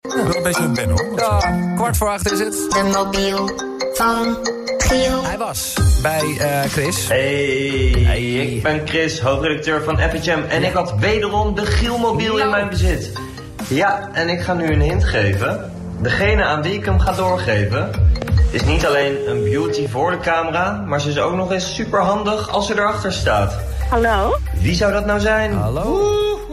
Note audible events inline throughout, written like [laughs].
Wel een beetje een ben hoor. Ja, kwart voor acht is het. De mobiel van Giel. Hij was bij eh, Chris. Hey, ik ben Chris, hoofdredacteur van FHM. En ik had wederom de Gielmobiel in mijn bezit. Ja, en ik ga nu een hint geven. Degene aan wie ik hem ga doorgeven... is niet alleen een beauty voor de camera... maar ze is ook nog eens superhandig als ze erachter staat. Hallo? Wie zou dat nou zijn? Hallo.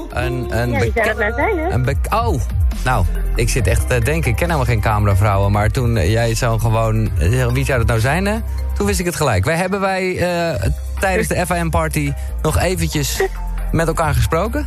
Een, een Ja, wie zou beke- dat nou zijn, hè? Een bek- oh, nou, ik zit echt te denken, ik ken helemaal geen cameravrouwen. Maar toen eh, jij zo gewoon, eh, wie zou dat nou zijn hè? Toen wist ik het gelijk. Wij hebben wij eh, tijdens de FIM party nog eventjes met elkaar gesproken.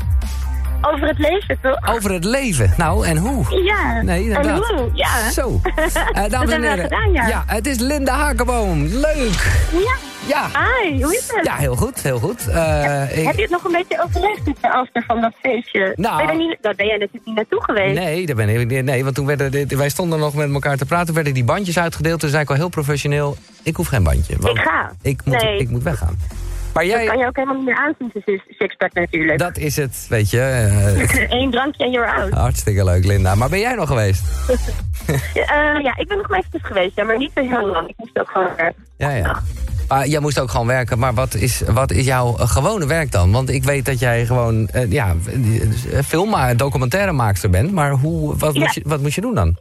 Over het leven, toch? Over het leven. Nou, en hoe? Ja. Oh. Nee, inderdaad. En hoe? Ja. Zo. Eh, dames en hebben we heren. gedaan, ja. het is Linda Hakenboom. Leuk. Ja. Ja. Hi, hoe is het? Ja, heel goed, heel goed. Eh, ik- Heb je het nog een beetje overleefd met de after van dat feestje? Nou. Ben je daar, niet, daar ben jij natuurlijk niet naartoe geweest. Nee, daar ben ik niet. Nee, want toen werden dit- wij stonden nog met elkaar te praten. Toen werden die bandjes uitgedeeld. Toen zei ik al heel professioneel: ik hoef geen bandje. want Ik ga. Ik moet, Nee. ik moet weggaan. Maar Kan jij, je ook helemaal niet meer aanzien, dus is sixpack natuurlijk. dat is het, weet je. eh, [laughs] Eén drankje en you're out. hartstikke leuk, Linda. Maar ben jij nog geweest? Eh, ja, ik ben nog maar eventjes geweest, ja, maar niet zo heel lang. Ik moest ook gewoon eh, werken. Ja, ja. Ah, jij moest ook gewoon werken, maar wat is, wat is jouw eh, gewone werk dan? Want ik weet dat jij gewoon eh, ja, eh, film, eh, documentairemaakster bent, maar hoe, wat, Ja. moet je, wat moet je doen dan?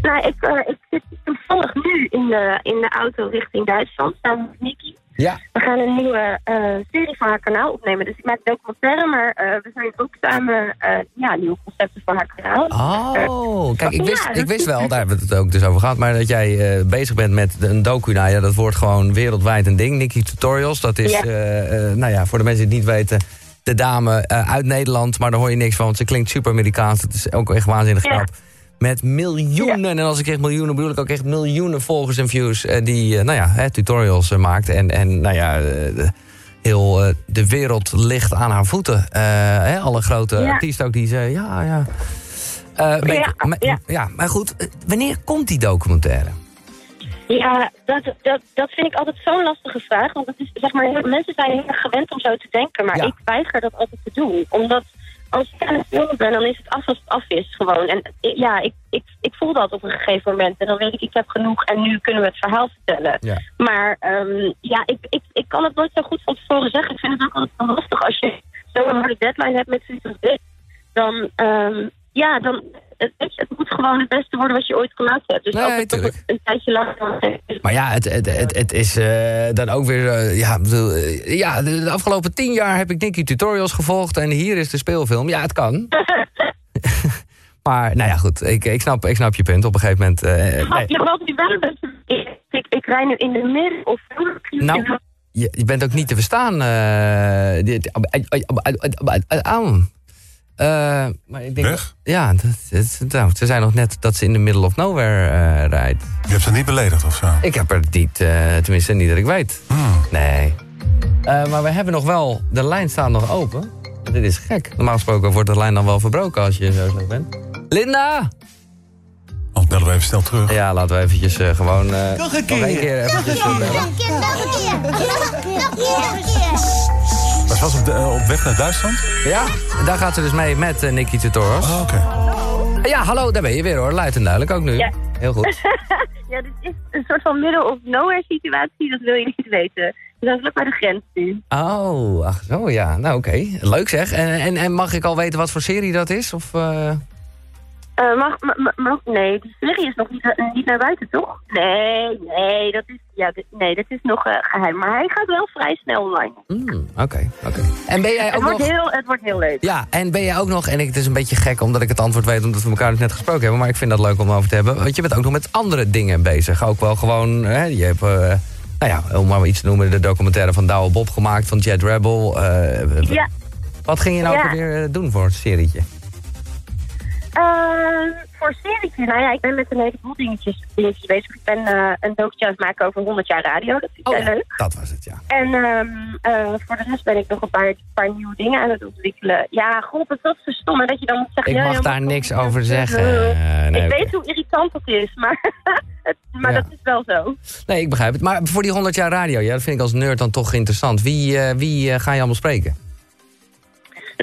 Nou, ik, eh, ik zit toevallig nu in de, in de auto richting Duitsland, samen met Nicky. Ja. We gaan een nieuwe eh, serie van haar kanaal opnemen. Dus ik maak documentaire, maar eh, we zijn ook samen eh, ja, nieuwe concepten van haar kanaal. Oh, kijk, ik wist, Eh, Ja, dat ik wist is- wel, daar hebben we het ook dus over gehad... maar dat jij eh, bezig bent met een docu, nou ja, dat wordt gewoon wereldwijd een ding. Nikki Tutorials, dat is, Ja. eh, eh, nou ja, voor de mensen die het niet weten... de dame eh, uit Nederland, maar daar hoor je niks van... want ze klinkt super Amerikaans, dat is ook echt waanzinnig Ja. knap. Met miljoenen, en als ik zeg miljoenen bedoel ik ook echt miljoenen volgers en views... eh, die, eh, nou ja, hè, tutorials eh, maakt en, en nou ja... eh, heel eh, de wereld ligt aan haar voeten. Eh, hè, alle grote Ja. artiesten ook die zeggen, ja, ja. Eh, ben ik- Ja, maar- ja. ja, maar goed, eh, wanneer komt die documentaire? Ja, dat, dat, dat vind ik altijd zo'n lastige vraag. Want het is, zeg maar, heel- mensen zijn heel erg gewend om zo te denken. Maar Ja. ik weiger dat altijd te doen. Omdat als ik aan het filmen ben, dan is het af als het af is gewoon. En eh, ja, ik, ik, ik voel dat op een gegeven moment. En dan weet ik, ik heb genoeg en nu kunnen we het verhaal vertellen. Ja. Maar ehm, ja, ik, ik, ik kan het nooit zo goed van tevoren zeggen. Ik vind het ook altijd wel lastig als je zo'n harde deadline hebt met zoiets als dit. Dan, ehm, ja, dan... Het, weet je, het moet gewoon het beste worden wat je ooit gemaakt hebt. Dus Nee, als het toch tuurlijk. een tijdje lang dan- Maar ja, het, het, het, het is eh, dan ook weer... eh, ja, ik bedoel, eh, ja, de, de afgelopen tien jaar heb ik Nicky Tutorials gevolgd... en hier is de speelfilm. Ja, het [laughs] kan. maar nou ja, goed, ik, ik, snap, ik snap je punt. Op een gegeven moment... eh, nee. Je gelooft niet wel dat ik, ik, ik rij nu in de midden of Nou, je, je bent ook niet te verstaan. eh, dit- Auw. oh. Eh, maar ik denk, Weg? Ja, dat, dat- nou, ze zijn nog net dat ze in de middle of nowhere eh, rijdt. Je hebt ze niet beledigd of zo. Hmm. Ik heb er niet, eh, tenminste niet dat ik weet. Nee. Eh, maar we hebben nog wel, de lijn staat nog open. Dit is gek. Normaal gesproken wordt de lijn dan wel verbroken als je zo slecht bent. Linda! Anders bellen we even snel terug. Ja, laten we eventjes eh, gewoon... eh, nog een keer. eventjes eh, bellen. Nog een keer, nog een keer. Nog een keer, nog een keer. Maar ze was op, de- eh, op weg naar Duitsland? Ja, daar gaat ze dus mee met eh, Nicky Tutorials. Oh, oké. Ja, hallo, daar ben je weer hoor. Luid en duidelijk ook nu. Ja. Heel goed. [laughs] Ja, dit is een soort van middle of nowhere situatie, dat wil je niet weten. Dus We zijn vlak bij de grens nu. Oh, ach zo, ja. Nou, oké. Leuk zeg. En, en, en mag ik al weten wat voor serie dat is? Of, eh, Eh, mag, ma- ma- mag- nee, die serie is nog niet, eh, niet naar buiten, toch? Nee, nee, dat is, ja, dit- nee, dat is nog eh, geheim. Maar hij gaat wel vrij snel online. hmm, Oké, oké. En ben jij Het ook wordt, nog... heel, het wordt heel leuk. Ja, en ben jij ook nog... En ik, het is een beetje gek omdat ik het antwoord weet... omdat we elkaar dus net gesproken hebben. Maar ik vind dat leuk om over te hebben. Want je bent ook nog met andere dingen bezig. Ook wel gewoon... Hè, je hebt... eh, nou ja, om maar iets te noemen, de documentaire van Douwe Bob gemaakt, van Jet Rebel. eh, Ja, Wat ging je nou Ja. ook weer doen voor het serietje? Ehm, voor serietje, nou ja, ik ben met een heleboel dingetjes, dingetjes bezig. Ik ben eh, een documentje aan het maken over 100 jaar radio, dat vind ik Oh, wel ja, leuk. dat was het, ja. En ehm, eh, voor de rest ben ik nog een paar, paar nieuwe dingen aan het ontwikkelen. Ja, god, dat is verstom. En dat je dan moet zeggen... Ik ja, mag ja, daar maar- niks over zeggen. Nee, ik oké. weet hoe irritant het is, maar, [laughs] het, maar Ja. dat is wel zo. Nee, ik begrijp het. Maar voor die 100 jaar radio, ja, dat vind ik als nerd dan toch interessant. Wie, eh, wie eh, ga je allemaal spreken?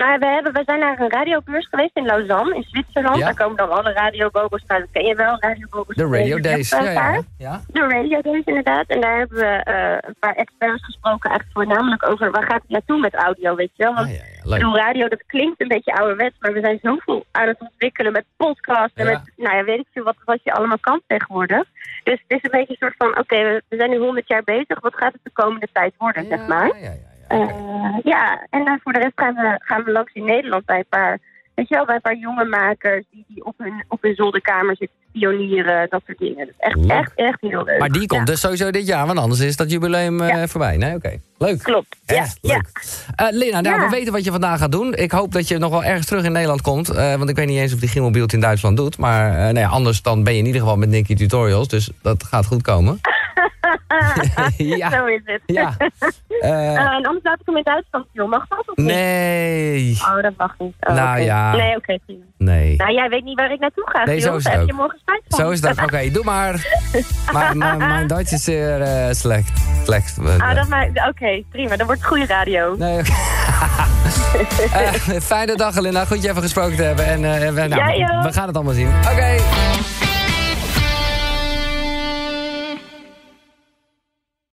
Nou, we, hebben, we zijn naar een radiobeurs geweest in Lausanne, in Zwitserland. Ja. Daar komen dan alle radiogogos uit. Dat ken je wel, radiogogos. De Radio Days. Ja, ja. ja. De Radio Days inderdaad. En daar hebben we eh, een paar experts gesproken, eigenlijk voornamelijk over waar gaat het naartoe met audio, weet je wel. Want Ah, ja, ja. ik Leuk. bedoel, radio, dat klinkt een beetje ouderwets, maar we zijn zoveel aan het ontwikkelen met podcasts en Ja. met, nou ja, weet ik veel wat, wat je allemaal kan tegenwoordig. Dus het is een beetje een soort van, oké, we, we zijn nu 100 jaar bezig, wat gaat het de komende tijd worden, zeg maar. Ja, ja, ja, ja. Eh, Oké. ja, en dan voor de rest gaan we, gaan we langs in Nederland bij een paar, weet je wel, bij een paar jonge makers die, die op, hun, op hun zolderkamer zitten te pionieren, dat soort dingen. Dus echt, Leuk. echt, echt heel leuk. Maar die komt dus sowieso dit jaar, want anders is dat jubileum eh, voorbij. Nee, oké. Leuk. Klopt. Hè? Ja, ja. leuk. Eh, Lina, nou, Ja. we weten wat je vandaag gaat doen. Ik hoop dat je nog wel ergens terug in Nederland komt. eh, want ik weet niet eens of die Gimmelbeeld in Duitsland doet. Maar eh, nou ja, anders dan ben je in ieder geval met Nicky Tutorials. Dus dat gaat goed [laughs] komen. ja. Zo is het. ja. Eh, [laughs] Eh, en anders laat ik hem in Duitsland doen. Mag dat of niet? nee. Oh, dat mag niet. Oh, Nou oké. ja. Nee, oké. prima. Nee. nou, jij weet niet waar ik naartoe ga. Nee, zo Giel. is Daar het heb ook. je morgen spijt van. Zo is dat. Oké, doe [laughs] maar. Maar maar mijn Duits is zeer eh, slecht. Slecht. eh, Ah, dat maakt... Oké, prima. Dan wordt het goede radio. [laughs] Nee, oké. Eh, fijne dag, Linda. Goed je even gesproken te hebben. En eh, we, nou, Jij ook. we gaan het allemaal zien. Oké.